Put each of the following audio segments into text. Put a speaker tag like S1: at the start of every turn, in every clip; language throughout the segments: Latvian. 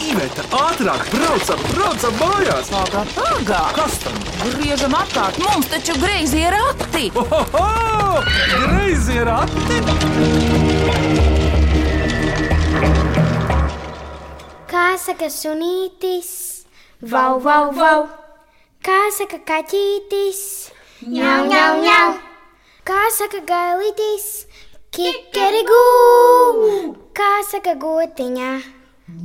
S1: Iveta, ātrāk, braucam, braucam mājās!
S2: Pagā, pagā!
S1: Kas tam?
S2: Griežam apkārt, mums taču greizi ir akti!
S1: Ohoho! Greizi ir ati!
S3: Kā saka sunītis, vau, vau, vau. Kā saka kaķītis, jau, jau, jau. Kā saka gailītis, kikerigū. Kā saka gotiņa,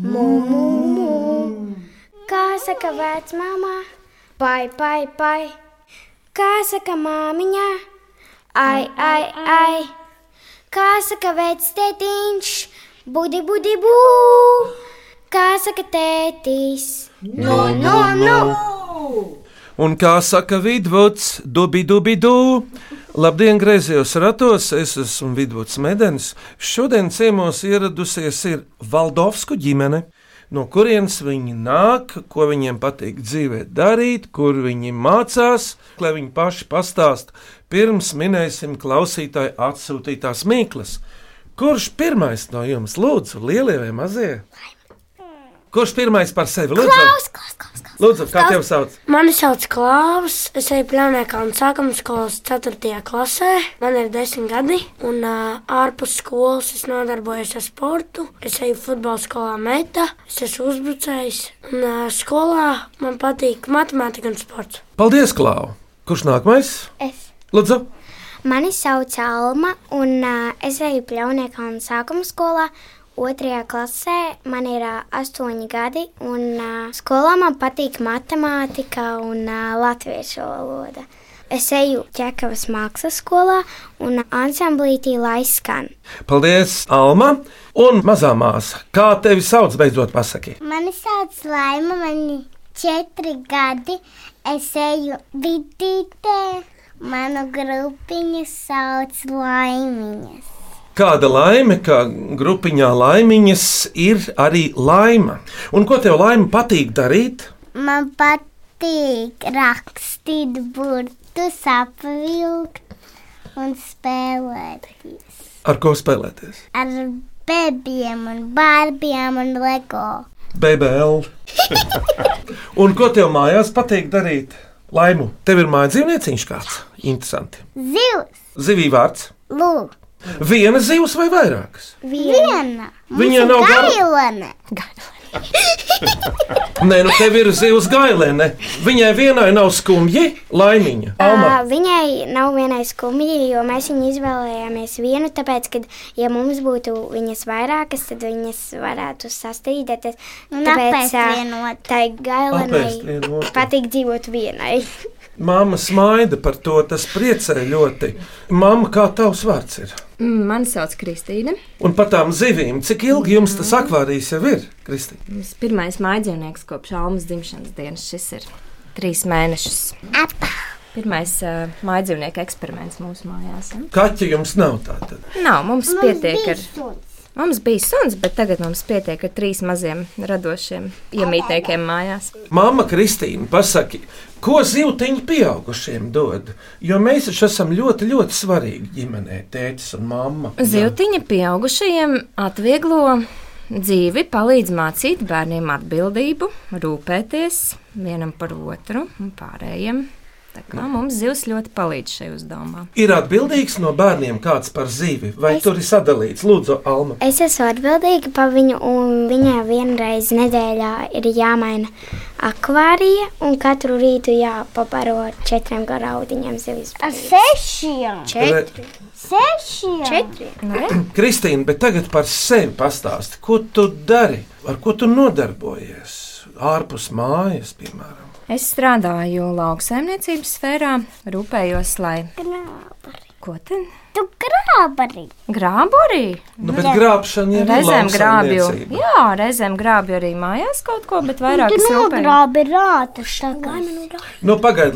S3: mūmūmū. Kā saka vecmāmā, pai, pai, pai. Kā saka māmiņa, ai, ai, ai. Kā saka vectētiņš, budi, budi, bū. Kā saka tētis, no, no, no.
S4: Un kā saka Vidvuds, dubi, dubi, du. Labdien, griezījos ratos, es esmu Vidvuds Medens. Šodien ciemos ieradusies ir Valdovsku ģimene. No kurienes viņi nāk, ko viņiem patīk dzīvē darīt, kur viņi mācās, lai viņi paši pastāst, pirms minēsim klausītāju atsūtītās mīklas. Kurš pirmais no jums lūdzu, lielie vai mazie? Kurš pirmais par sevi lūdzu?
S3: klaus, klaus, klaus.
S4: Lūdzu, kā tevi sauc?
S5: Mani sauc Klaus. Es eju plakāta un sākuma skolas 4. klasē. Man ir 10 gadi, un uh, ārpus skolas es nodarbojos ar sportu. Es eju futbola skolā metā, es esmu uzbrucējs. Un uh, skolā man patīk matemātika un sports.
S4: Paldies, Klau! Kurš nākamais?
S3: Es.
S4: Lūdzu,
S3: Mani sauc Alma, un uh, es eju Pļauniekā un sākuma skolā. Otrajā klasē man ir uh, astoņi gadi, un uh, skolā man patīk matemātika un uh, latviešu valoda. Es eju Čekavas mākslas skolā un ansamblītī laiskan.
S4: paldies, Alma! Un mazā māsa, kā tevi sauc, beidzot pasaki?
S3: Mani sauc Laima, man ir četri gadi. Es eju vidītē. Manu grupiņu sauc Laimiņas.
S4: Kāda laime, kā grupiņā laimiņas, ir arī laima. Un ko tev laima patīk darīt?
S3: Man patīk rakstīt burtus, apvilkt un spēlēties
S4: Ar ko spēlēties?
S3: ar bebiem un bārbiem un lego.
S4: BBL. Un ko tev mājās patīk darīt? Laimu, tev ir mājas dzīvnieciņš kāds? Interesanti.
S3: Zivs,
S4: Zivī vārds.
S3: lūk,
S4: Viena zivs vai vairākas?
S3: viena.
S4: Viņai nav gara-
S3: gailene.
S4: Nē, nu tev ir zivs gailēne. Viņai vienai nav skumji, laimiņa. Alma,
S3: Ā, Viņai nav vienai skumjai, jo mēs viņu izvēlējāmies vienu, tāpēc, ka, ja mums būtu viņas vairākas, tad viņas varētu sastrīdēties. Tāpēc ā, tai
S4: Apēst
S3: gailenei
S4: vienu otru.
S3: patīk dzīvot vienai.
S4: Māma smaida par to, tas priecē ļoti. Māma, kā tavs vārds ir?
S6: Mani sauc Kristīne.
S4: Un par tām zivīm, cik ilgi jums tas akvārijas jau ir, Kristīna?
S6: Es pirmais mājdzīvnieks kopš Almas dzimšanas dienas. Šis ir trīs mēnešus. Pirmais uh, mājdzīvnieka eksperiments mūsu mājās. Ja?
S4: Kaķa jums nav tāda.
S6: Nav, mums, mums pietiek ar. Mums bija suns, bet tagad mums pietiek ar trīs maziem radošiem iemītniekiem mājās.
S4: Māma Kristīna, pasaki, ko zivtiņi pieaugušiem dod? Jo mēs taču esam ļoti, ļoti svarīgi ģimenē, tētis un mamma.
S6: Zivtiņa pieaugušajiem atvieglo dzīvi, palīdz mācīt bērniem atbildību, rūpēties vienam par otru un pārējiem. Tā kā mums zivs ļoti palīdz šajā uzdevumā.
S4: Ir atbildīgs no bērniem kāds par zivi, vai es... tur ir sadalīts? Lūdzu, Alma.
S3: Es esmu atbildīga par viņu, un viņai vienreiz nedēļā ir jāmaina akvārija, un katru rītu jāpaparo ar četriem garaudiņiem zivis. Ar sešiem?
S4: Re-
S3: Četri. Sešiem? Četri.
S4: Kristīna, bet tagad par sevi pastāsti. Ko tu dari? Ar ko tu nodarbojies? Ārpus mājas, piemēram.
S6: Es strādāju lauksaimniecības sfērā, rūpējos, lai.
S3: Grābari.
S6: Ko tad?
S3: Tu grābari.
S6: Grābu arī.
S4: Nu, bet grābšana ir
S6: Reizēm grābju.
S4: lauksaimniecība.
S6: Jā, reizēm grābju arī mājās kaut ko, bet vairāk es rūpējos.
S3: rātus. Tā kā man ir
S4: Nu, pagaidi,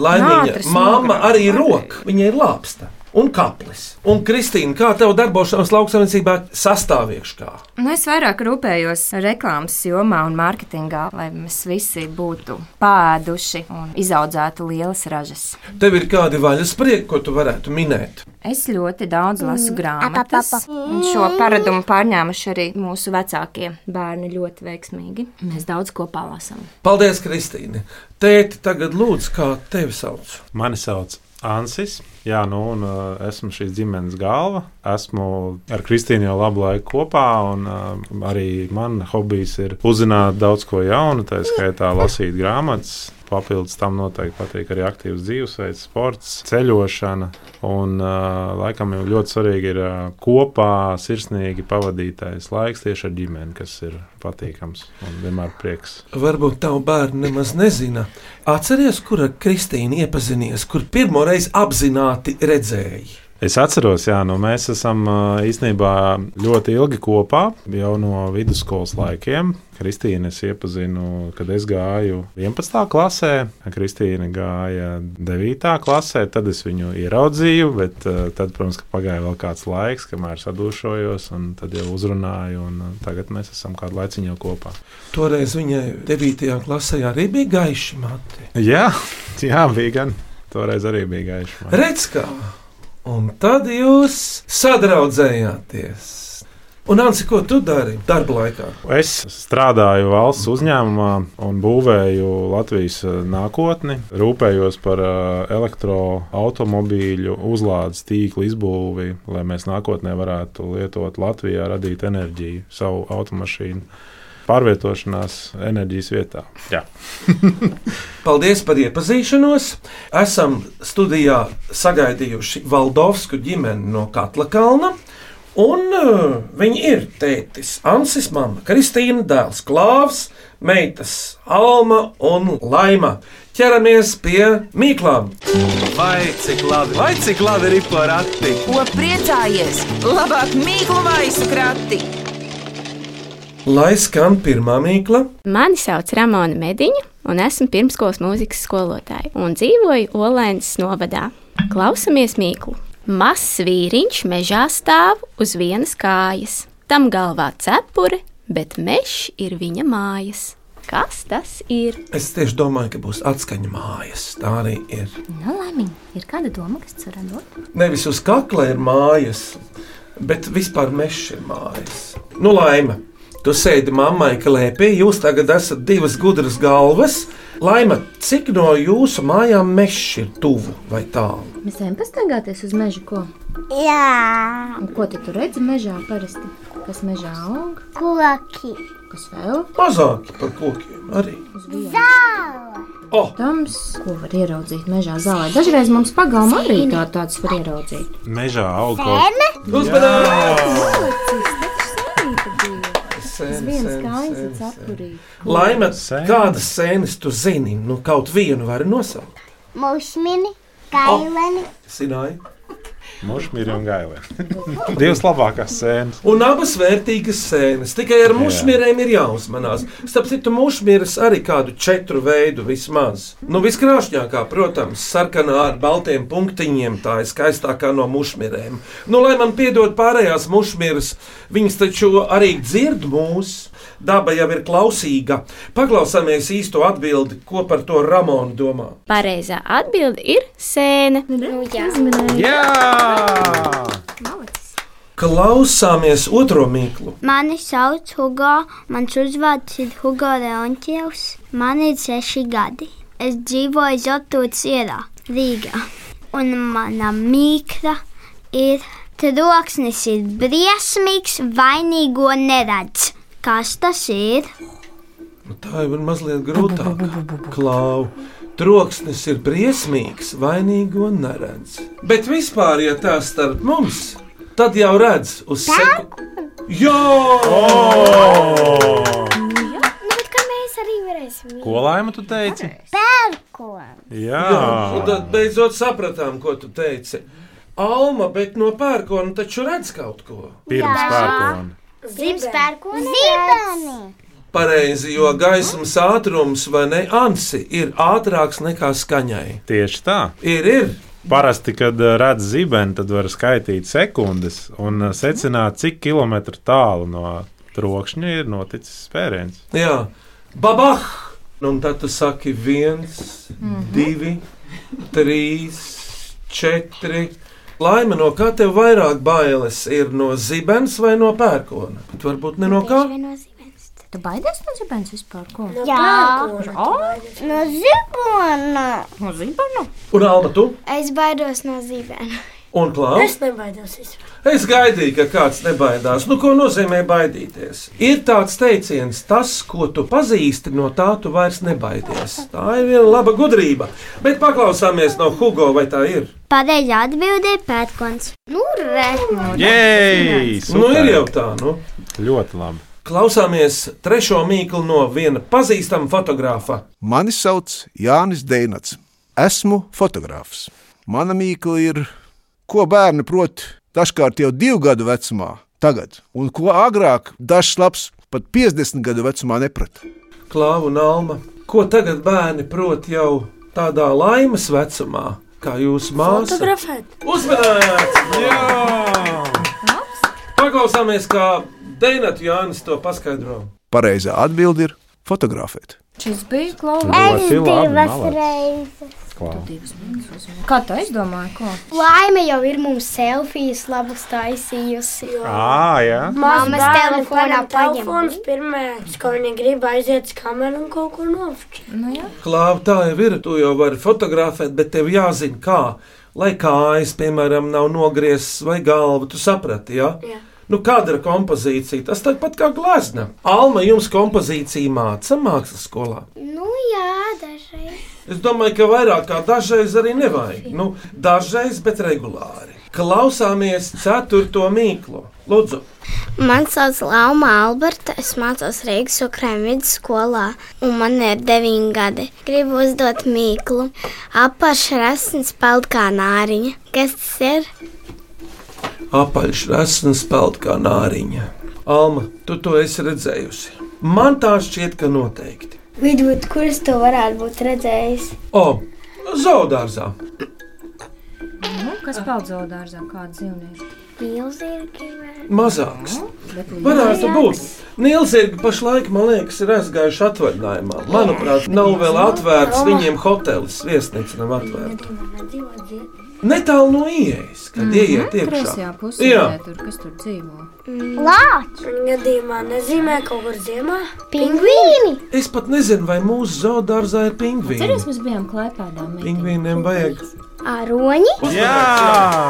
S4: laimīga.
S6: Nātris
S4: Māma
S6: nogrāb.
S4: arī roka. Viņa ir lāpsta. un kaplis. Un, Kristīna, kā tev darbošanās lauksaimniecībā sastāv iekšā?
S6: Nu, es vairāk rūpējos par reklāmas jomā un mārketingā, lai mēs visi būtu pāduši un izaudzētu lielas ražas.
S4: Tev ir kādi vaļas prieki, ko tu varētu minēt?
S6: Es ļoti
S3: Mm.
S6: daudz lasu grāmatas. un Šo paradumu pārņēmuši arī mūsu vecākie bērni ļoti veiksmīgi. Mēs daudz kopā lasām.
S4: Paldies, Kristīne! Tēti, tagad lūdzu, kā tevi sauc?
S7: Mani sauc Ansis. Jā, nu, un, uh, esmu šīs ģimenes galva. Esmu ar Kristīnu jau labu laiku kopā, un uh, arī man hobijs ir uzzināt daudz ko jaunu, tā skaitā lasīt grāmatas. Papildus tam noteikti patīk arī aktīvs dzīvesveids, sports, ceļošana. Un, uh, laikam jau ļoti svarīgi ir uh, kopā sirsnīgi pavadītais laiks tieši ar ģimeni, kas ir patīkams un vienmēr prieks.
S4: Varbūt tavu bērnu nemaz nezina. Atceries, kur ar Kristīnu iepazinies, kur pirmo reizi apzināti redzēji.
S7: Es atceros, jā, nu, mēs esam ā, īstenībā ļoti ilgi kopā, jau no vidusskolas laikiem. Kristīnu es iepazinu, kad es gāju 11. klasē, Kristīna gāja 9. klasē, tad es viņu ieraudzīju, bet ā, tad, protams, ka pagāja vēl kāds laiks, kamēr sadūšojos, un tad jau uzrunāju, un ā, tagad mēs esam kādu laiciņu jau kopā.
S4: Toreiz viņai 9. klasē arī bija gaiša mati.
S7: Jā, jā, bija gan. Toreiz arī bija gaiši. man.
S4: Redz, kā! Un tad jūs sadraudzējāties. Un, Anci, ko tu dari darba laikā?
S7: Es strādāju valsts uzņēmumā un būvēju Latvijas eh, nākotni. Rūpējos par eh, elektroautomobīļu uzlādes tīklu izbūvi, lai mēs nākotnē varētu lietot Latvijā, radīt enerģiju savu automašīnu. Pārvietošanās enerģijas vietā. Jā.
S4: Paldies par iepazīšanos. Esam studijā sagaidījuši Valdovsku ģimeni no Katla Kalna. Un uh, viņi ir tētis Ansis, mama Kristīna, dēls Klāvs, meitas Alma un Laima. Ķeramies pie mīklām.
S1: Vai cik labi, vai cik labi ir porati?
S2: Ko priecājies? Labāk mīklu maisu krati!
S4: Lai skan pirmā mīkla.
S8: Mani sauc Ramona Mediņa, un esmu pirmskolas mūzikas skolotāja un dzīvoju Olēnas novadā. Klausamies mīklu. Mazs vīriņš mežā stāv uz vienas kājas. Tam galvā cepure, bet mežs ir viņa mājas. Kas tas ir?
S4: Es tieši domāju, ka būs atskaņa mājas. Tā arī ir.
S6: Nu, laimiņ, ir kāda doma, kas tur radot?
S4: Nevis uz kakla ir mājas, bet vispār meža ir mājas. Nu, laime, tu sēdi mammai klēpī, jūs tagad esat divas gudras galvas. Laime, cik no jūsu mājām mežs ir tuvu vai tālu?
S9: Mēs ejam pastaigāties uz mežu, ko?
S10: Jā,
S9: Un ko tu tur redzi mežā parasti? Kas mežā aug?
S10: koki,
S9: Kas vēl?
S4: Mazāk par kokiem arī.
S9: Tams, ko var ieraudzīt mežā zālē. Dažreiz mums pagalma arī tā, tāds var ieraudzīt.
S7: Mežā aug kaut
S4: Uzmanības!
S9: Tas viens kājas ir cepurīts.
S4: Laime,
S7: Sēnes.
S4: kādas sēnes tu zini? Nu, kaut vienu var nosaukt.
S10: mūžmini,
S6: Oh.
S10: kailani,
S4: Sināja.
S7: kas mušmīri un gailē. Divas labākās sēnes.
S4: Un abas vērtīgas sēnes. Tikai ar mušmieriem ir jāuzmanās. Starp citu, mušmieris arī kādu četru veidu vismaz. Nu, viskrāšņākā, protams, sarkanā ar baltiem punktiņiem. Tā ir skaistākā no mušmieriem. Nu, lai man piedod pārējās mušmieris, viņas taču arī dzird mūs. Daba jau ir klausīga. Paklausāmies īsto atbildi, ko par to Ramonu domā.
S3: Pareizā atbilde ir sēne.
S9: Nu, jā, uzmanīgi.
S7: Jā!
S4: Klausāmies otro mīklu.
S3: Mani sauc Hugo, mans uzvārds ir Hugo Leončevs. Man ir seši gadi. Es dzīvoju Zotūts ielā, Rīgā. Un mana mīkla ir troksnis ir briesmīgs, vainīgo neredz. Kas tas ir?
S4: Nu, Tā jau ir mazliet grūtāk. Klau, troksnis ir briesmīgs, vainīgo neredz. Bet vispār, ja tā starp mums, tad jau redz uz seku. Jā!
S3: Nu, bet kā mēs arī varēsim?
S7: Oh! Ko laima tu teici?
S10: koki.
S7: Jā,
S4: Jā, un tad beidzot sapratām, ko tu teici. Alma, bet no pērkona taču redz kaut ko.
S7: pirms pērkona.
S3: Zīmes pērkona.
S10: Zibani,
S4: Pareizi, jo gaismas ātrums vai ne ansi ir ātrāks nekā skaņai.
S7: Tieši tā.
S4: Ir, ir.
S7: Parasti, kad eh, redz zibeni, tad var skaitīt sekundes un eh, secināt, cik kilometru tālu no trokšņa ir noticis spēriens.
S4: Jā, babah! Un tad tu saki, viens, divi, trīs, četri. Laime, no kā tev vairāk bailes ir no zibens vai no pērkona? Bet varbūt ne no kā.
S3: Bieži vien no zibens.
S9: Tu baidies no zibens vispār? Ko?
S5: No
S10: Jā.
S5: pērkona.
S10: No zibona.
S6: No zibena?
S4: Un Alma, tu?
S3: Es baidos no zibena.
S4: Un Klaus?
S5: Es nebaidos. vispār.
S4: Es gaidīju, ka kāds nebaidās. Nu, ko nozīmē baidīties? Ir tāds teiciens, tas, ko tu pazīsti, no tā tu vairs nebaidies. Tā ir viena laba gudrība. Bet paklausāmies no Hugo, vai tā ir?
S3: Pareizi atbildēja pērkons. Nu, re!
S7: Jej!
S4: Super. Nu, ir jau tā, nu.
S7: Ļoti labi.
S4: Klausāmies trešo mīklu no viena pazīstama fotografa.
S11: Mani sauc Jānis Deinats. Esmu fotogrāfs. Mana mīkla ir, ko bērni prot dažkārt jau divu gadu vecumā, tagad, un ko agrāk dažs labs pat 50 gadu vecumā neprata.
S4: Klāva un Alma, ko tagad bērni prot jau tādā laimes vecumā, kā jūsu māsa?
S5: Fotografēt.
S4: Uzmanīts! Paklausāmies, kā Deinatu Jānis to paskaidro.
S11: Pareizā atbilde ir fotografēt.
S6: Šis bija klauns.
S10: Es
S7: Ļoti labi,
S10: divas
S7: malacis.
S10: reizes.
S7: Klau.
S6: Kā tu aizdomāji, ko?
S3: Laime jau ir mums selfijas labus taisījusi.
S7: Ā, jā.
S3: Mammas telefonā paņem.
S5: Telefons pirmais, ko viņa grib aiziet uz kameru un kaut kur nofočēt.
S6: Nu, jā.
S4: Klāva, tā jau ir. Tu jau vari fotografēt, bet tev jāzina, kā. Lai kājas, piemēram, nav nogrieztas vai galva, tu saprati, ja?
S5: Jā.
S4: Nu, kāda ir kompozīcija? Tas tāpat kā glezna. Alma jums kompozīcija māca mākslas skolā.
S3: Nu, jā, dažreiz.
S4: Es domāju, ka vairāk kā dažreiz arī nevajag. Nu, dažreiz, bet regulāri. Klausāmies ceturto mīklu. Lūdzu,
S3: Man sauc Lauma Alberta, es mācos Rīgas Ukrājuma vidusskolā, un man ir 9 gadi. Gribu uzdot mīklu. Apakšrasnis peld kā nāriņa. Kas tas ir?
S4: apaļš resns peld kā nāriņa. Alma, tu to esi redzējusi. Man tā šķiet, ka noteikti.
S3: Vidvud, kuras to varētu būt redzējis?
S4: O, zaudārzā.
S6: Nu, kas paldzēla dārzā? Kāda dzīvnieka?
S3: Milzīgi.
S4: Mazāks. Varētu būt. Nīlzirgi pašlaik, man liekas, ir aizgājuši atvaļinājumā. Manuprāt, nav vēl atvērts viņiem hotelis. Viesnīca nav atvērta. Netālu no ieejas, kad ieiet
S6: Mhm. Kreisajā
S4: iekšā.
S6: pusē,
S4: Jā.
S6: tur, kas tur dzīvo.
S10: Lāči.
S5: Viņa gadījumā nezīmē kaut kur ziemā.
S10: Pingvīni.
S4: Es pat nezinu, vai mūsu zoodārzā ir pingvīni.
S9: Cerēs, mēs bijām klēpādā.
S4: Pingvīniem vajag.
S3: Aroņi?
S7: Jā!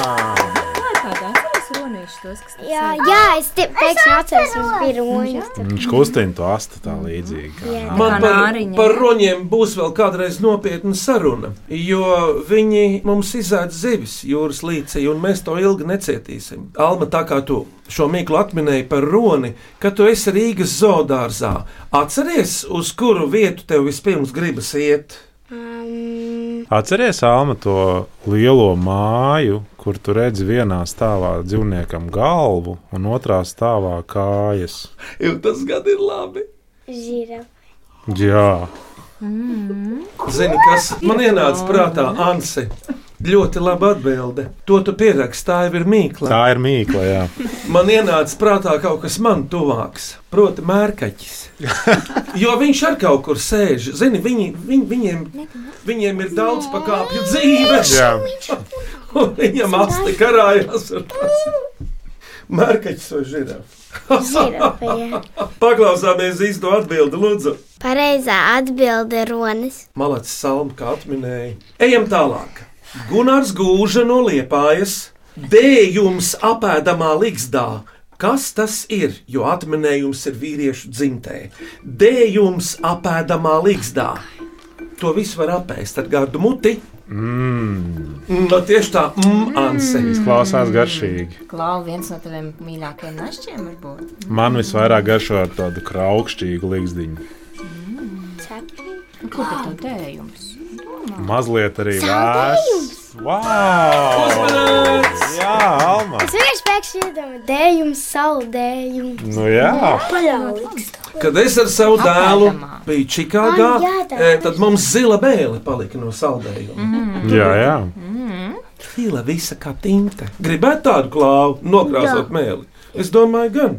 S6: Klēpādā atceries roniešu tos, kas tur
S3: Jā, Ah, jā es te pēkšņi atceros, mums bija roņi.
S7: Viņš kustina to astu tā līdzīgi. kā nā-
S4: Man par,
S6: Kanāriņa.
S4: par roņiem būs vēl kādreiz nopietna saruna, jo viņi mums izēdz zivis jūras līcī, un mēs to ilgi necietīsim. Alma, tā kā tu šo mīklu atminēji par roni, ka tu esi Rīgas zoodārzā, atceries, uz kuru vietu tev vispirms gribas iet?
S3: Um,
S7: Atceries, Alma, to lielo māju, kur tu redzi vienā stāvā dzīvniekam galvu un otrā stāvā kājas.
S4: Jo tas gadi ir labi.
S3: žira.
S7: Jā,
S4: Zini, kas man ienāca prātā, Ansi? Ļoti laba atbilde. To tu pierakst, tā jau ir mīkla.
S7: tā ir mīkla. Jā.
S4: Man ienāca prātā kaut kas man tuvāks, proti, mērkaķis. Jo viņš arī kaut kur sēž. Zini, viņi, viņi, viņiem, viņiem ir daudz pakāpju dzīves,
S7: Jā.
S4: un viņam asti karājās ar tās. Mērkaķis vai žirafs?
S3: Žirafija.
S4: Paklausāmies īsto atbildi, lūdzu.
S3: Pareizā atbilde ronis.
S4: Malacis Salma, kā atminēja. Ejam tālāk. Gunārs gūža no liepājas, dējums apēdamā ligzdā. Kas tas ir? Jo atminējums ir vīriešu dzimtē. Dējums apēdamā ligzdā. To visu var apēst ar gardu muti.
S7: Mm,
S4: No tieši tā, mm, anse.
S7: izklausās garšīgi.
S6: Klau, viens no taviem mīļākajiem našķiem varbūt.
S7: Man visvairāk garšo ar tādu kraukšķīgu līgsdiņu.
S6: Nu, Kur tad tev dējums?
S7: Mazliet arī vēss. Wow! Jā, Alma!
S3: Es vienkārši pēkšņi iedomājos dējumu, saldējumu.
S7: Nu jā,
S5: Paļaujies.
S4: Kad es ar savu dēlu
S6: Apēdamā.
S4: biju Čikāgā,
S3: Ai, jā, tā
S4: eh, tad mums zila bēle palika no saldējuma.
S7: jā, jā.
S4: Fila visa kā tinte. Gribētu tādu klāvu, nokrāsot
S12: Jā.
S4: mēli. Es domāju, gan.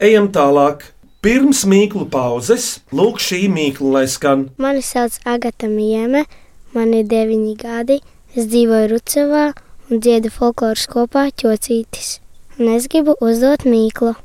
S4: Ejam tālāk. Pirms mīklu pauzes, lūk, šī mīkla, lai skan.
S3: Mani sauc Agata Mieme, man ir deviņi gadi. Es dzīvoju Rucavā un dziedu folkloras kopā ķocītis. Un es gribu uzdot mīklu.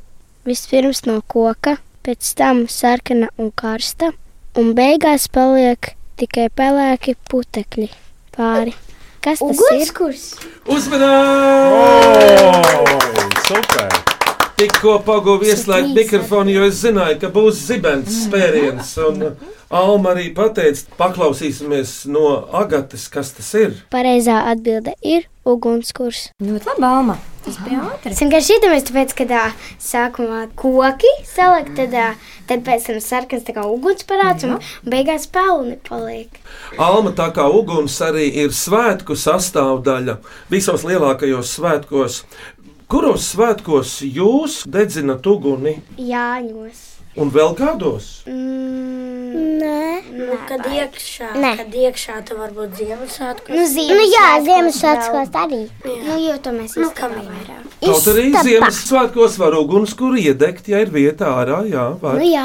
S3: Vispirms no koka, pēc tam sarkana un karsta, un beigās paliek tikai pelēki putekļi pāri. Kas tas
S10: Ugunskurs.
S7: Oh!
S4: Uzmanīgi!
S7: Super!
S4: Tikko pagūvu ieslēgt mikrofonu, jo es zināju, ka būs zibens spēriens. Un Alma arī pateica, paklausīsimies no Agatas, kas tas ir.
S3: ir? Pareizā atbilde ir ugunskurs.
S6: Ļoti labi, Alma. Tas bija
S3: Es vienkārši iedomājos, tāpēc, ka tā sākumā koki salikt, tad, ā, tad pēc tam sarkans tā kā uguns parāds un beigās pelni paliek.
S4: Alma tā kā uguns arī ir svētku sastāvdaļa visos lielākajos svētkos. Kuros svētkos jūs dedzinat uguni
S3: Jāņos. Mm.
S4: un vēl kādos?
S5: Nē, nu, kad iekšā,
S10: Nē.
S5: kad iekšā tu varbūt Ziemassvētku.
S10: Nu, nu jā, Ziemassvētkos arī.
S3: Nu, jo to mēs
S5: nu, kam ir vairāk?
S4: Kaut arī
S10: Istaba.
S4: Ziemassvētkos var uguns, kur iedegt, ja ir vieta ārā. Jā, var.
S3: Nu, jā.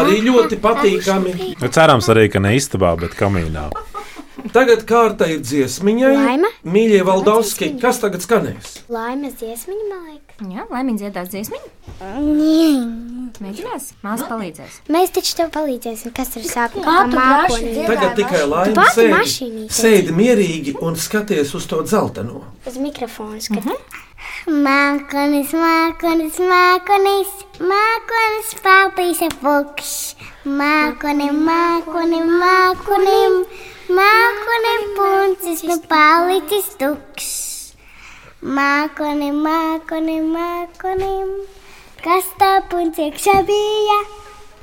S4: Arī ļoti patīkami.
S7: Nu, cerams, arī, ka ne istabā, bet kamīnā.
S4: Tagad kārta ir dziesmiņai.
S3: Laime?
S4: Mīļie Valdovski, kas tagad skanēs?
S3: Laimes dziesmiņa, man liekas.
S6: Jā, laimīgi dziedās dziesmiņu. Mēģinās, māsa palīdzēs.
S3: Mēs taču tev palīdzēsim, kas ir sākuma
S5: Kā tu
S3: mākoņi.
S5: braši
S4: Tagad tikai
S3: Tu
S4: laime
S3: pati
S4: sēdi,
S3: mašīnī
S4: sēdi mierīgi un skaties uz to dzelteno.
S3: Uz mikrofonu skatu.
S10: Mākonis, mākonis, mākonis, mākonis
S3: e
S10: pārtīsa pukš. Mākoni, mākoni, mākonim, mākoni puncis nu
S3: e
S10: palicis tukšs. Mākoni, mākoni, mākonim, kas tā punci iekšā bija?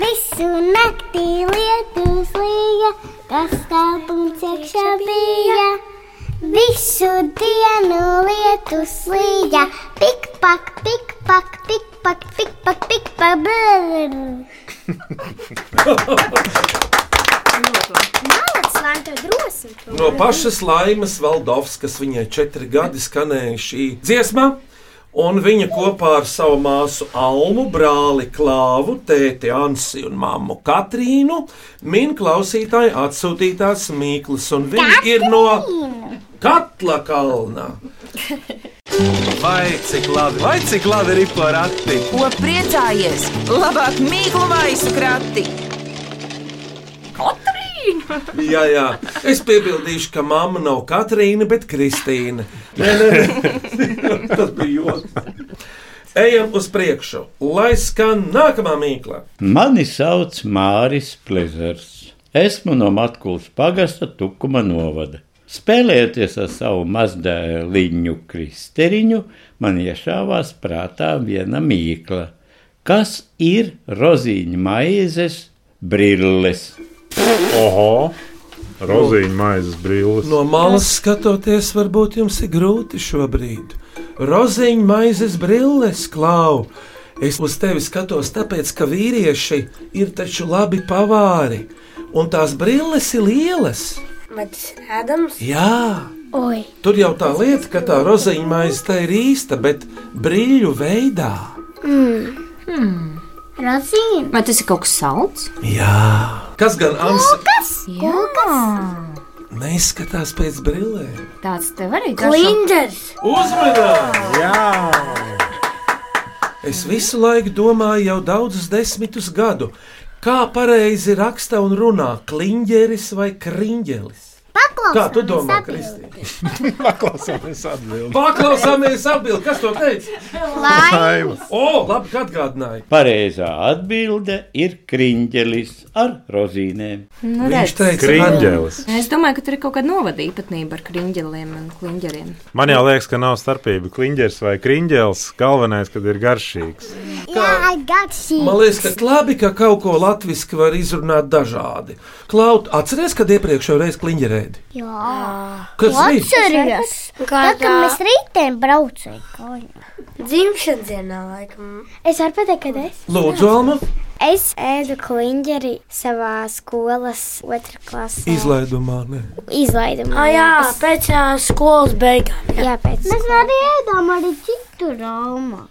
S10: Visu naktī lietus līja, kas tā punci iekšā bija? Visu dienu lietus līja, pikpak, pikpak, pikpak, pikpak, pikpak, brr.
S3: Malacis, lai tev drosmi.
S4: No pašas laimes Valdovskas, viņai četri gadi skanēja šī dziesma. Un viņa kopā ar savu māsu Almu, brāli Klāvu, tēti Ansi un māmu Katrīnu min klausītāju atsūtītās mīklas. Un viņa ir no Katla kalna.
S1: Vai cik labi, vai cik labi ir porakti?
S2: Ko priecājies? Labāk mīklu maisu krati. Katrīna!
S4: Jā, jā. Es piebildīšu, ka mamma nav Katrīna, bet Kristīna. Nē, nē, nē. tas bija joks. Ejam uz priekšu, lai skan nākamā mīkla.
S13: Mani sauc Māris Plezers. Esmu no Matkulas pagasta Tukuma novada. Spēlējoties ar savu mazdēliņu kristeriņu, man iešāvās prātā viena mīkla. Kas ir rozīņu maizes brilles?
S7: Oho! Rozīņu maizes brilles.
S4: No malas skatoties, varbūt jums ir grūti šobrīd. Roziņa maizes brilles klau. Es uz tevi skatos, tāpēc ka vīrieši ir taču labi pavāri, un tās brilles ir lielas.
S5: Bet tas ir ēdams.
S4: Jā,
S5: Oi.
S4: tur jau tā lieta, ka tā roziņa maize tā ir īsta, bet brīļu veidā.
S10: Rozīna.
S6: Vai tas ir kaut kas salds?
S4: Jā, kas gan Ansi
S10: Kas?
S4: neizskatās pēc brillēm?
S6: Tāds tev arī
S5: Klinders.
S4: Uzmanīgi! Jā! Es visu laiku domāju, jau daudzus desmitus gadu, kā pareizi raksta un runā kliņģeris vai kriņģelis. Kā tu domā, Kristīne?
S7: Paklausāmies atbildēt.
S4: Paklausāmies atbildēt, kas to teica?
S7: Laima.
S4: O, labi, ka atgādināji.
S13: Pareizā atbilde ir kriņģelis ar rozīnēm.
S6: Nu,
S7: Viņš
S6: redz.
S7: teica, Kriņģelis.
S6: Es domāju, ka tur ir kaut kāda novada īpatnība ar kriņģeliem un kliņģeriem.
S7: Man jau liekas, ka nav starpība. Kliņģers vai kriņģels. Galvenais, kad ir garšīgs.
S10: Jā, garšīgi.
S4: Man liekas, ka labi, ka kaut ko latviešu var izrunāt dažādi. Klaut, atceries, kad iepriekšējā reizē kliņģerēdi?
S10: Jā.
S4: Kas bija?
S10: Atceries,
S5: Kādā-
S10: kad mēs rītdien braucām.
S5: Dzimšanas dienā laikam.
S3: Es varu pateikt, kad es.
S4: Lūdzu, Alma,
S3: Es ēdu kliņģeri savā skolas otrā klasē.
S4: Izlaidumā, ne?
S3: Izlaidumā.
S5: Ah, jā, pēc uh, skolas beigām.
S3: Jā, pēc
S10: Mēs arī ēdām arī citu raumu.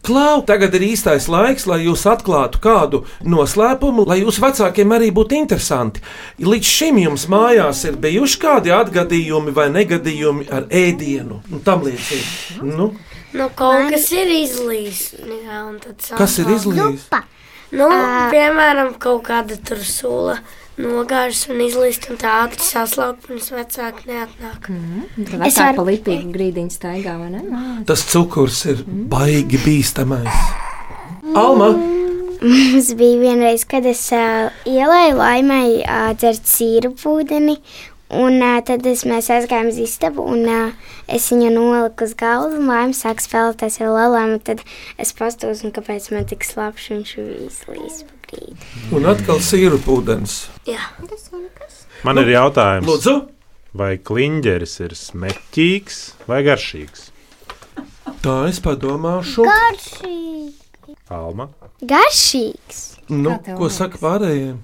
S4: Klau, tagad ir īstais laiks, lai jūs atklātu kādu noslēpumu, lai jūsu vecākiem arī būtu interesanti. Līdz šim jums mājās ir bijuši kādi atgadījumi vai negadījumi ar ēdienu un tam līdzīgi. Nu,
S5: Nu, kaut Man... kas ir izlīs. Jā, un tad sākām.
S4: Kas ir izlīdis?
S5: Nu, piemēram, kaut kāda tur sula nogāžas un izlīst, un tā ātri saslaukt, pirms vecāki neatnāk.
S6: Tad es Ah, ar palipīgu grīdiņu staigā, vai ne?
S4: Tas cukurs ir baigi bīstamais. Alma!
S3: Mums bija vienreiz, kad es ā, ielēju laimēju ā, dzert sīru ūdeni. Un ā, tad es, mēs aizgājām uz istabu, un ā, es viņu noliku uz galda, un laima sāk spēlēties ar lēlām. Tad es pastos, un kāpēc man tik slapjš viņš bija izlīs pa grīdu.
S4: Un atkal sīrupūdens.
S5: Jā.
S7: Man nu, ir jautājums,
S4: lūdzu?
S7: vai kliņģeris ir smēķīgs vai garšīgs?
S4: Tā es padomāšu.
S10: Garšīgi.
S7: Alma.
S3: Garšīgs.
S4: Nu,
S5: Kā tev
S4: ko
S5: liekas?
S4: saka pārējie?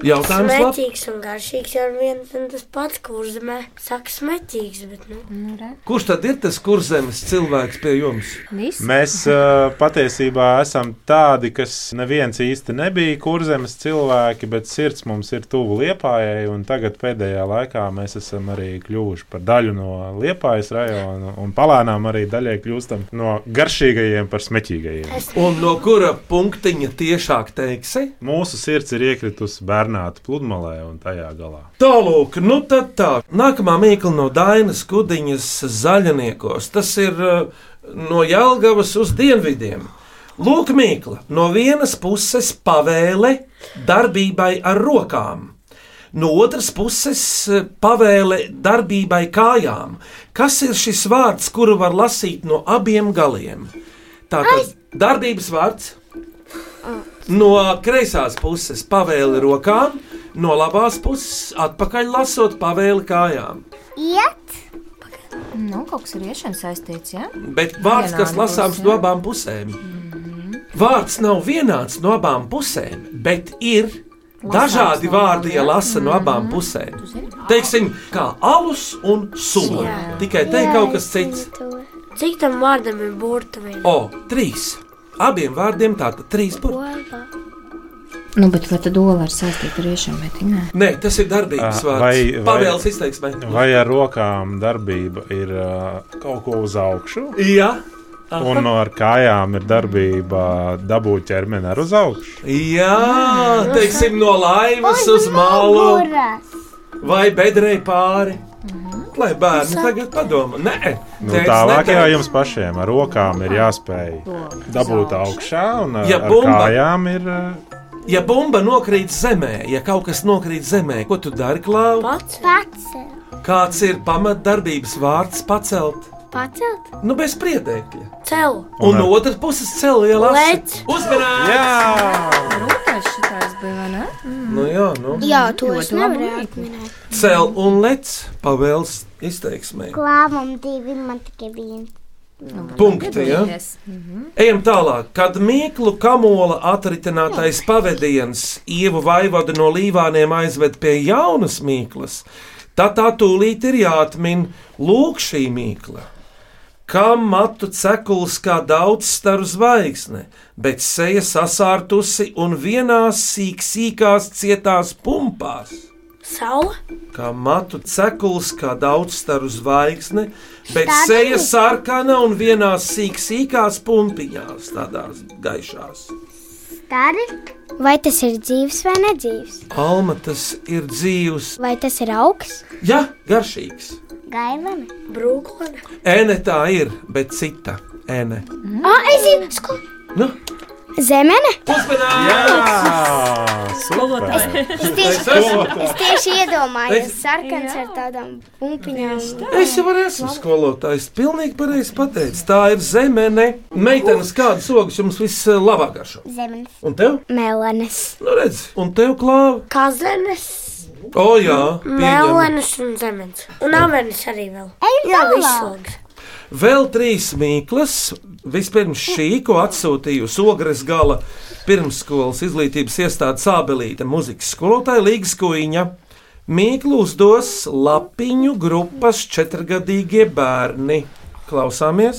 S4: Jautājums labi.
S5: Smetīgs un garšīgs ar vienu un tas pats, kurš zemē saka smetīgs, bet nu. nu re.
S4: Kurš tad ir tas kurzemes cilvēks pie jums?
S7: Mēs uh, patiesībā esam tādi, kas neviens īsti nebija kurzemes cilvēki, bet sirds mums ir tuvu liepājai. un Tagad pēdējā laikā mēs esam arī kļuvuši par daļu no liepājas rajona un palēnām arī daļai kļūstam no garšīgajiem par smēķīgajiem.
S4: Un no kura punktiņa tiešāk teiksi?
S7: Mūsu sirds ir iekritusi Bernāta pludmalē un tajā galā.
S4: Tālāk, nu tad tā. Nākamā mīkla no Dainas Kudiņas zaļniekos. Tas ir uh, no Jālgavas uz dienvidiem. Lūk, mīkla. No vienas puses pavēle darbībai ar rokām. No otras puses, uh, pavēle darbībai kājām. Kas ir šis vārds, kuru var lasīt no abiem galiem? Tātad darbības vārds No kreisās puses pavēli rokām, no labās puses atpakaļ lasot pavēli kājām.
S10: Iet,
S6: Nu, kaut kas ir iešana saistīts, jā?
S4: Bet vārds, kas
S6: Vienādi
S4: lasāms
S6: būs,
S4: no
S6: jā.
S4: abām pusēm,
S5: Mhm.
S4: vārds nav vienāds no abām pusēm, bet ir dažādi vārdi, ja lasa no
S5: Mhm.
S4: abām pusēm. Teiksim, kā alus un sula.
S5: Jā.
S4: Tikai te ir kaut kas cits.
S5: Cik tam vārdam ir burtuvība?
S4: O, trīs. Abiem vārdiem tātad trīs burti.
S6: Nu, bet vai tad dola ir saistīta ar iešanu, vai nē?
S4: Nē, tas ir darbības
S7: Ah, vai-
S4: vārds.
S7: vai-
S4: Pavēles izteiksmē.
S7: Vai ar rokām darbība ir uh, kaut ko uz augšu?
S4: Jā.
S7: Un ar kājām ir darbība dabūt ķermeni ar uz augšu.
S4: Jā,
S7: Mm.
S4: teiksim, no laivas uz malu
S10: muguras.
S4: vai bedrē pāri. Lai bērni tagad padomā, nē,
S7: Nu,
S4: tēvs
S7: tālāk
S4: neteica.
S7: jau jums pašiem ar rokām ir jāspēj dabūt augšā, un ar,
S4: Ja
S7: ar
S4: bumba-
S7: kājām ir uh,
S4: Ja bumba nokrīt zemē, ja kaut kas nokrīt zemē, ko tu dari, Klau?
S5: Pats.
S10: Pats.
S4: Kāds ir pamatdarbības vārds pacelt?
S10: Pacelt.
S4: Nu, bez priedēkļa.
S5: Cel.
S4: Un no otras puses celties.
S5: Lec.
S4: Uzmanīgi! Jā!
S6: Rūpēs šitās bija, vai ne?
S4: Nu, jā, nu.
S3: Jā, to es
S6: Ļoti labi
S3: nevarēju
S6: mīkla.
S3: atminēt.
S4: Cel un lec pavēles izteiksmē.
S10: Klāvam divi, man tikai viens.
S4: Punkti, ja? Ejam tālāk. Kad mīklu kamola atritinātais pavadījums ievu vaivadu no līvāniem aizved pie jaunas mīklas, tad tā tūlīt ir jāatmin lūk šī mīkla. Kā matu cekuls, kā daudz staru zvaigzne, bet seja sasārtusi un vienā sīk, sīkās cietās pumpās.
S5: Saula.
S4: Kā matu cekuls, kā daudz staru zvaigzne, bet
S5: Staru?
S4: seja sarkana un vienā sīk, sīkās pumpiņās, tādās gaišās.
S3: Dari? Vai tas ir dzīves vai nedzīves?
S4: Alma tas ir dzīves,
S3: Vai tas ir augs?
S4: ja garšīgs.
S10: Gailana.
S5: Brūklana.
S4: Ēne tā ir, bet cita ēne.
S3: Mm. Ah, es zinu, sko...
S4: Nu?
S3: Zemene?
S7: super.
S3: Es tieši, es tieši iedomājos,
S4: Es-
S3: sarkans ar tādām pumpiņām.
S4: Es jau arī esmu skolotājs. Pilnīgi pareizi pateicis. Tā ir zemene. Meitenes, kādas ogas jums vislabāk garšo?
S10: Zemes.
S4: Un tev?
S3: Melanes.
S4: Nu, redz, un tev klāva.
S5: Kazenes.
S4: O, jā, pieņemam.
S5: Melnēs un zemes. Un avenes arī vēl.
S10: Ej
S5: Jā,
S10: tālāk.
S5: visoks.
S4: Vēl trīs mīklas. Vispirms šī, ko atsūtīja uz ogres gala pirmsskolas izglītības iestādes abelīte, mūzikas skolotāja Līgas Kuiņa. Mīklu uzdos lapiņu grupas četrgadīgie bērni. Klausāmies!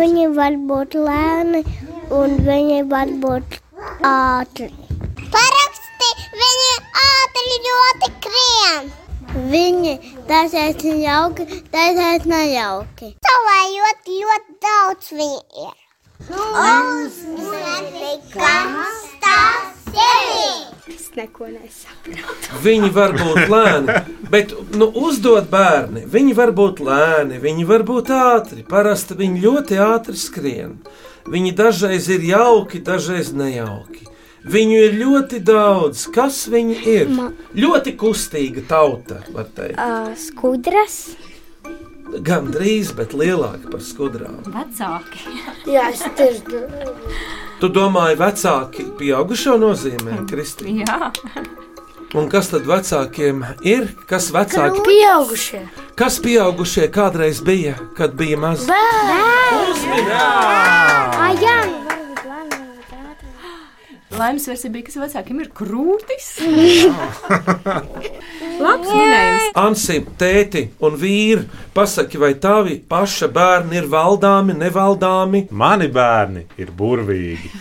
S10: Viņi var būt lēni un viņi var būt ātri. Paraksti viņi ātri ļoti krien. Viņi dažreiz ir jauki, dažreiz nejauki. Tavā ļoti, ļoti daudz viņi ir. Mums netika stāsts sevi. Es neko nesaprotu.
S4: Viņi var būt lēni, bet nu, uzdot bērni. Viņi var būt lēni, viņi var būt ātri. Parasti viņi ļoti ātri skrien. Viņi dažreiz ir jauki, dažreiz nejauki. Viņu ir ļoti daudz. Kas viņi ir?
S3: Ma-
S4: Ļoti kustīga tauta, var teikt.
S3: Uh, skudras.
S4: Gan drīz, bet lielāka par skudrām.
S6: Vecāki.
S5: Jā, es dzirdu.
S4: Tu domāji, vecāki pieaugušo nozīmē, Kristi?
S6: Jā.
S4: Un kas tad vecākiem ir? Kas vecāki?
S5: Pieaugušie.
S4: Kas pieaugušie kādreiz bija, kad bija mazi?
S3: Ai, jā!
S6: Laimes versija bija, kas vecākiem ir krūtis. Labs minējums.
S4: Ansi, tēti un vīri, pasaki, vai tavi paša bērni ir valdāmi, nevaldāmi?
S7: Mani bērni ir burvīgi.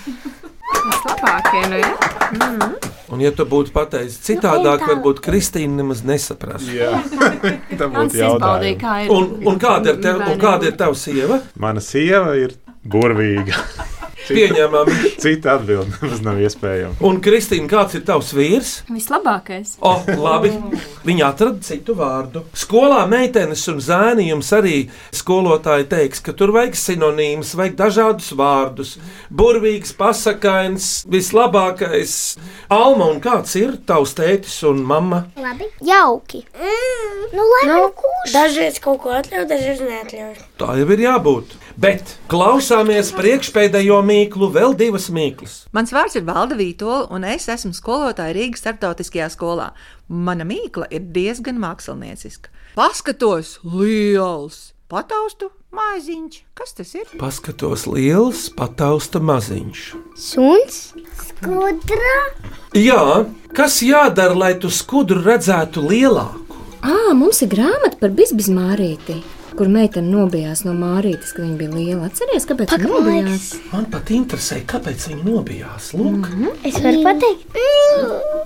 S6: Tas labākie, nu jā.
S4: Un, ja tu būtu pateicis citādāk, varbūt Kristīna nemaz nesaprastu.
S7: Jā. Tā
S6: Ansis
S7: būtu jautājums.
S6: baudīja, kā ir.
S4: Un, un kāda ir tev, un kāda ir tava sieva?
S7: Mana sieva ir burvīga.
S4: Pieņemami.
S7: Cita atbilde nemaz nav iespējama.
S4: Un, Kristīna, kāds ir tavs vīrs?
S6: Vislabākais.
S4: O, labi, viņi atrada citu vārdu. Skolā meitenes un zēni jums arī skolotāji teiks, ka tur vajag sinonīmus, vajag dažādus vārdus. Burvīgs, pasakains, vislabākais. Alma, un kāds ir tavs tētis un mamma?
S3: Labi. Jauki. Mm. Nu, lai nu, kurš.
S5: Dažreiz kaut ko atļauj, dažreiz neatļauj.
S4: Tā jau ir jābūt. Bet klausāmies priekšpēdējo mīklu, vēl divas mīklas.
S12: Mans vārds ir Valda Vītola, un es esmu skolotāja Rīgas starptautiskajā skolā. Mana mīkla ir diezgan mākslinieciska. Paskatos, liels, pataustu maiziņš. Kas tas ir?
S4: Paskatos liels, patausta maziņš.
S3: Suns.
S10: Skudra.
S4: Jā, kas jādara, lai tu skudru redzētu lielāku?
S6: Ah,
S9: Ā, mums ir grāmata par bizbizmārīti, kur meitene nobijās no mārītes, kad viņa bija liela. Atceries, kāpēc viņa nobijās?
S4: Man pat interesē, kāpēc viņi nobijās. Lūk, mm -hmm.
S3: Es varu pateikt.
S4: ja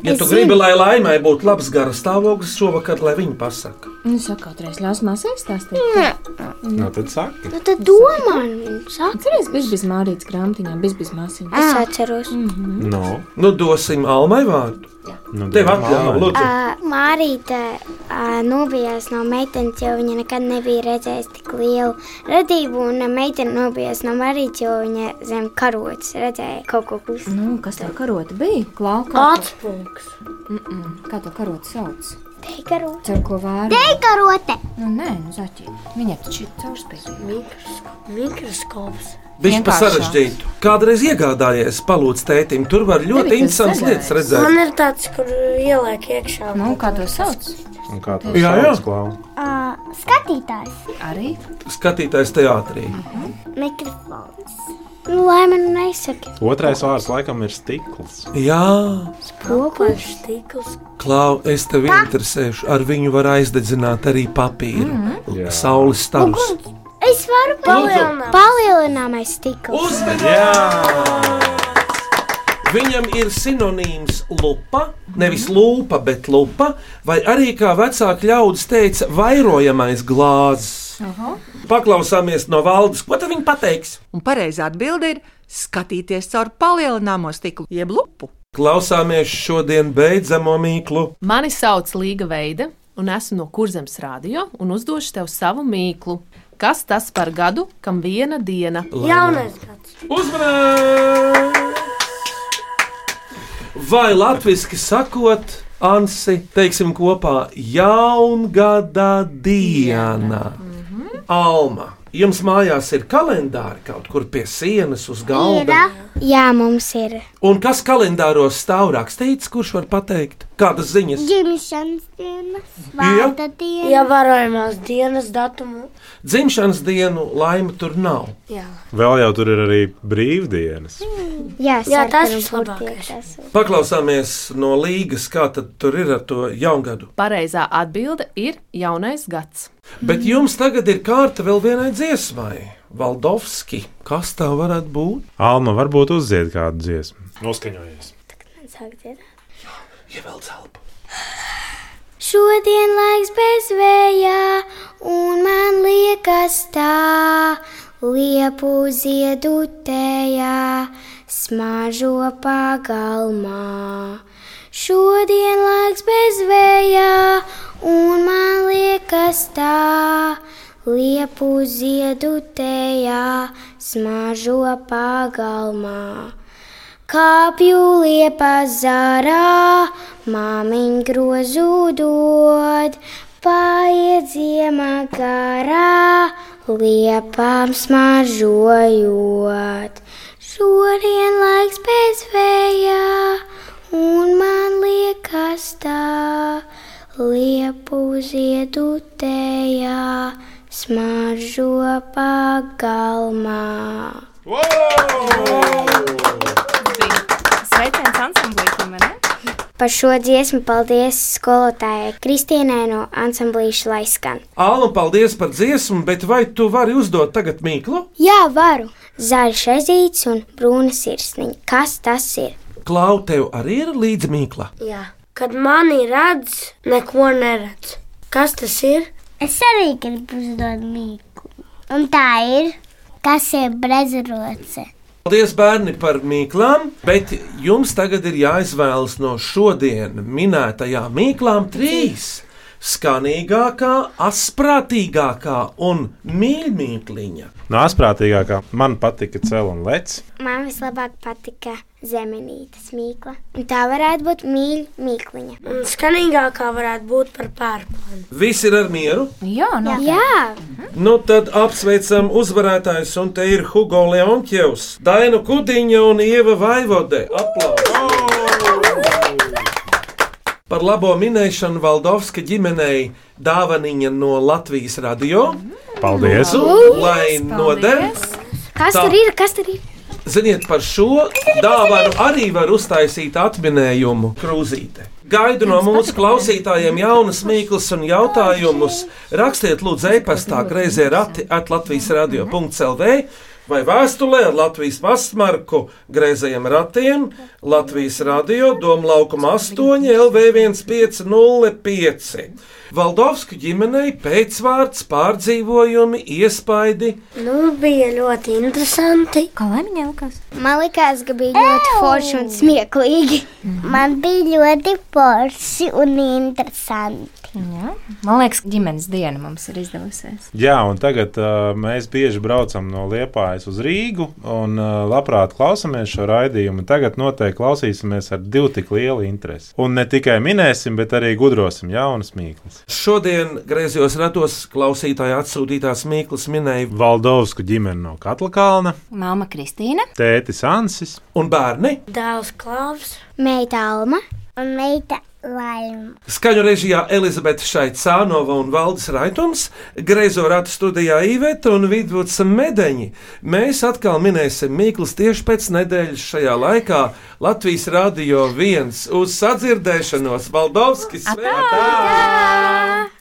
S3: Mm.
S9: Es
S4: tu
S9: zinu.
S4: gribi, lai laimai būtu labs gara stāvoklis, šovakar, lai viņi pasakā.
S9: Nu, saka, kādreiz ļaus māsai stāstīt.
S7: Nu, tad saka,
S3: Nu, tad domā, nu, sāk.
S9: Atceries, bizbizmārītes grāmatiņā, bizbizmāsiņā.
S3: Es atceros. Mm -hmm.
S7: no.
S4: Nu, dosim Almai vārdu.
S7: Nu,
S4: Tev
S7: dod
S4: atļauju,
S7: Almai.
S4: lūdzu.
S3: Uh, Mārīte uh, nobijās no meitenes, jo viņa nekad nebija redzējusi tik lielu radību. Un uh, meitene nobijās no Mārītes, jo viņa zem karotes redzēja kaut ko klusu.
S9: Nu, kas tā karota bija? Klauka.
S5: Atspūgs.
S9: Mm -mm. Kā to karota sauc?
S3: Teikarote.
S9: Caur ko vēro?
S3: Teikarote.
S9: Nu, nē, nu, zaķi. Viņai taču ir caurspīdīgi.
S5: Mikroskops.
S4: Viņš pa
S9: vienkāršāks.
S4: sarežģītu. Kādreiz iegādājies palūdz tētim, tur var ļoti
S9: Nebija tas
S4: interesants
S9: zaļais.
S4: lietas redzēt.
S5: Man ir tāds, kur ieliek iekšā.
S9: Nu, kā to sauc?
S7: Un kā tas
S4: Jā, jā.
S7: klāts?
S3: Ah,
S10: Uh, skatītājs.
S9: Arī
S4: Skatītājs teātrī.
S10: Mikrofons.
S3: Nu, lai man nesaka,
S7: Otrais vārds laikam ir stikls.
S4: Jā,
S5: Spoguļš, tīkls.
S4: Klau, es tev interesēšu. Ar viņu var aizdedzināt arī papīru. Mm
S9: Mm-hmm.
S4: -hmm. Saules stāvus.
S3: es varu palielināt. Palielināmais stikls.
S4: Viņam ir sinonīms lupa, nevis lupa, bet lupa, vai arī, kā vecāka ļaudis teica, vairojamais glāzes. Paklausāmies no valdes, ko tad viņi pateiks.
S12: Un pareizā atbilde ir skatīties caur palielināmo stiklu, jeb lupu.
S4: Klausāmies šodien beidzamo mīklu.
S14: Mani sauc Līga Veida, un esmu no Kurzemes radio, un uzdošu tev savu mīklu. Kas tas par gadu, kam viena diena?
S5: Jaunais gads.
S4: Uzmanības! Vai latviešu sakot, Ansi, teiksim kopā, jaungada diena, Alma. Jums mājās ir kalendāri kaut kur pie sienas, uz galda.
S3: Jā, mums ir.
S4: Un kas kalendāros stāv rakstīts, kurš var pateikt, kādas ziņas?
S10: Dzimšanas dienas,
S4: Jā.
S10: vārda dienas.
S5: Ievērojamās dienas datumu.
S4: Dzimšanas dienu laime tur nav.
S5: Jā.
S7: Vēl jau tur ir arī brīvdienas.
S3: Jā,
S5: Jā, tas
S3: sarkanu
S5: vislabākais.
S3: burtiņu.
S4: Paklausāmies no līgas, kā tad tur ir ar to jaungadu.
S14: Pareizā atbilde ir jaunais gads.
S4: Bet jums tagad ir kārta vēl vienai dziesmai, Valdovski. Kas tā varētu būt?
S7: Alma varbūt uzzied kādu dziesmu. Noskaņojies.
S3: Sāk dziedāt.
S4: Ievelc elpu.
S3: Šodien laiks bez vējā, un man liekas tā, liepu ziedu tējā, smažo pagalmā. Šodien laiks bez vējā, un man liekas tā, liepu ziedu tējā, smažo pagalmā. Kāpju liepa zārā, māmiņa grozu dod, paiet ziemā garā, liepām smažojot. Šodien laiks bez vējā, un man liekas tā, liepu ziedu tējā, smažo pagalmā.
S6: Sveiciens ansamblītam, vai ne?
S3: Par šo dziesmu paldies skolotājai Kristīnai no ansamblīša Laiskan.
S4: Alma, paldies par dziesmu, bet vai tu vari uzdot tagad mīklu?
S3: Jā, varu! Zaļš aizīts un brūna sirsniņa. Kas tas ir?
S4: Klau, tev arī ir līdz mīkla.
S5: Jā. Kad mani redz, neko neredz. Kas tas ir?
S10: Es arī gribu uzdot mīklu. Un tā ir, kas ir brezroce.
S4: Paldies, bērni, par mīklām, bet jums tagad ir jāizvēlas no šodien minētajām mīklām trīs. Skanīgākā, asprātīgākā un mīļākā.
S7: No asprātīgākā man patika cēlon lec.
S3: Man vislabāk patika zemenītes mīkla. Un tā varētu būt mīļa mīkliņa.
S5: Un skanīgākā varētu būt par pērku.
S4: Visi ir ar mieru.
S6: Jā, no
S3: Jā,
S4: Nu, tad apsveicam uzvarētājus, un te ir Hugo Leontjevs, Dainu Kudiņa un Ieva Vaivode. Aplausos! Par labo minēšanu Valdovska ģimenei dāvaniņa no Latvijas radio.
S7: Paldies!
S4: Lūdzu, Lai noder!
S3: kas
S4: Tā.
S3: tur ir? Kas tur ir?
S4: Ziniet, par šo dāvanu arī var uztaisīt atminējumu krūzīte. Gaidu no mūsu klausītājiem jaunas mīklas un jautājumus. Rakstiet, lūdzu, e-pastā grazē rati at Latvijas radio.clv vai vēstulē ar Latvijas pasmarku grēzējiem ratiem Latvijas radio Doma laukuma 8 LV1505. Valdovsku ģimenei pēcvārds, pārdzīvojumi, iespaidi.
S5: Nu, bija ļoti interesanti.
S6: Kā laimīgā likās?
S3: Man liekas, ka bija ļoti forši un smieklīgi.
S10: Man bija ļoti forši un interesanti.
S6: Jā. Man liekas, ģimenes diena mums ir izdevusies.
S7: Jā, un tagad uh, mēs bieži braucam no Liepājas uz Rīgu un uh, labprāt klausāmies šo raidījumu. Tagad noteikti klausīsimies ar divu tik lielu interesi. Un ne tikai minēsim, bet arī gudrosim jaunas mīklas.
S4: Šodien griezos ratos klausītāja atsūtītās mīklas minēja
S7: Valdovsku ģimene no Katla kalna,
S6: Māma Kristīna.
S7: tētis Ansis
S4: un bērni.
S5: Dēls Klaus.
S3: Meita Alma,
S10: Un meita laima.
S4: Skaņu režijā Elizabete Šaicānova un Valdis Raitons, griezo ratu studijā Īveta un Vidvuds Medeņi. Mēs atkal minēsim mīklas tieši pēc nedēļas šajā laikā Latvijas radio viens uz sadzirdēšanos Valdovskis. Atā! Atā!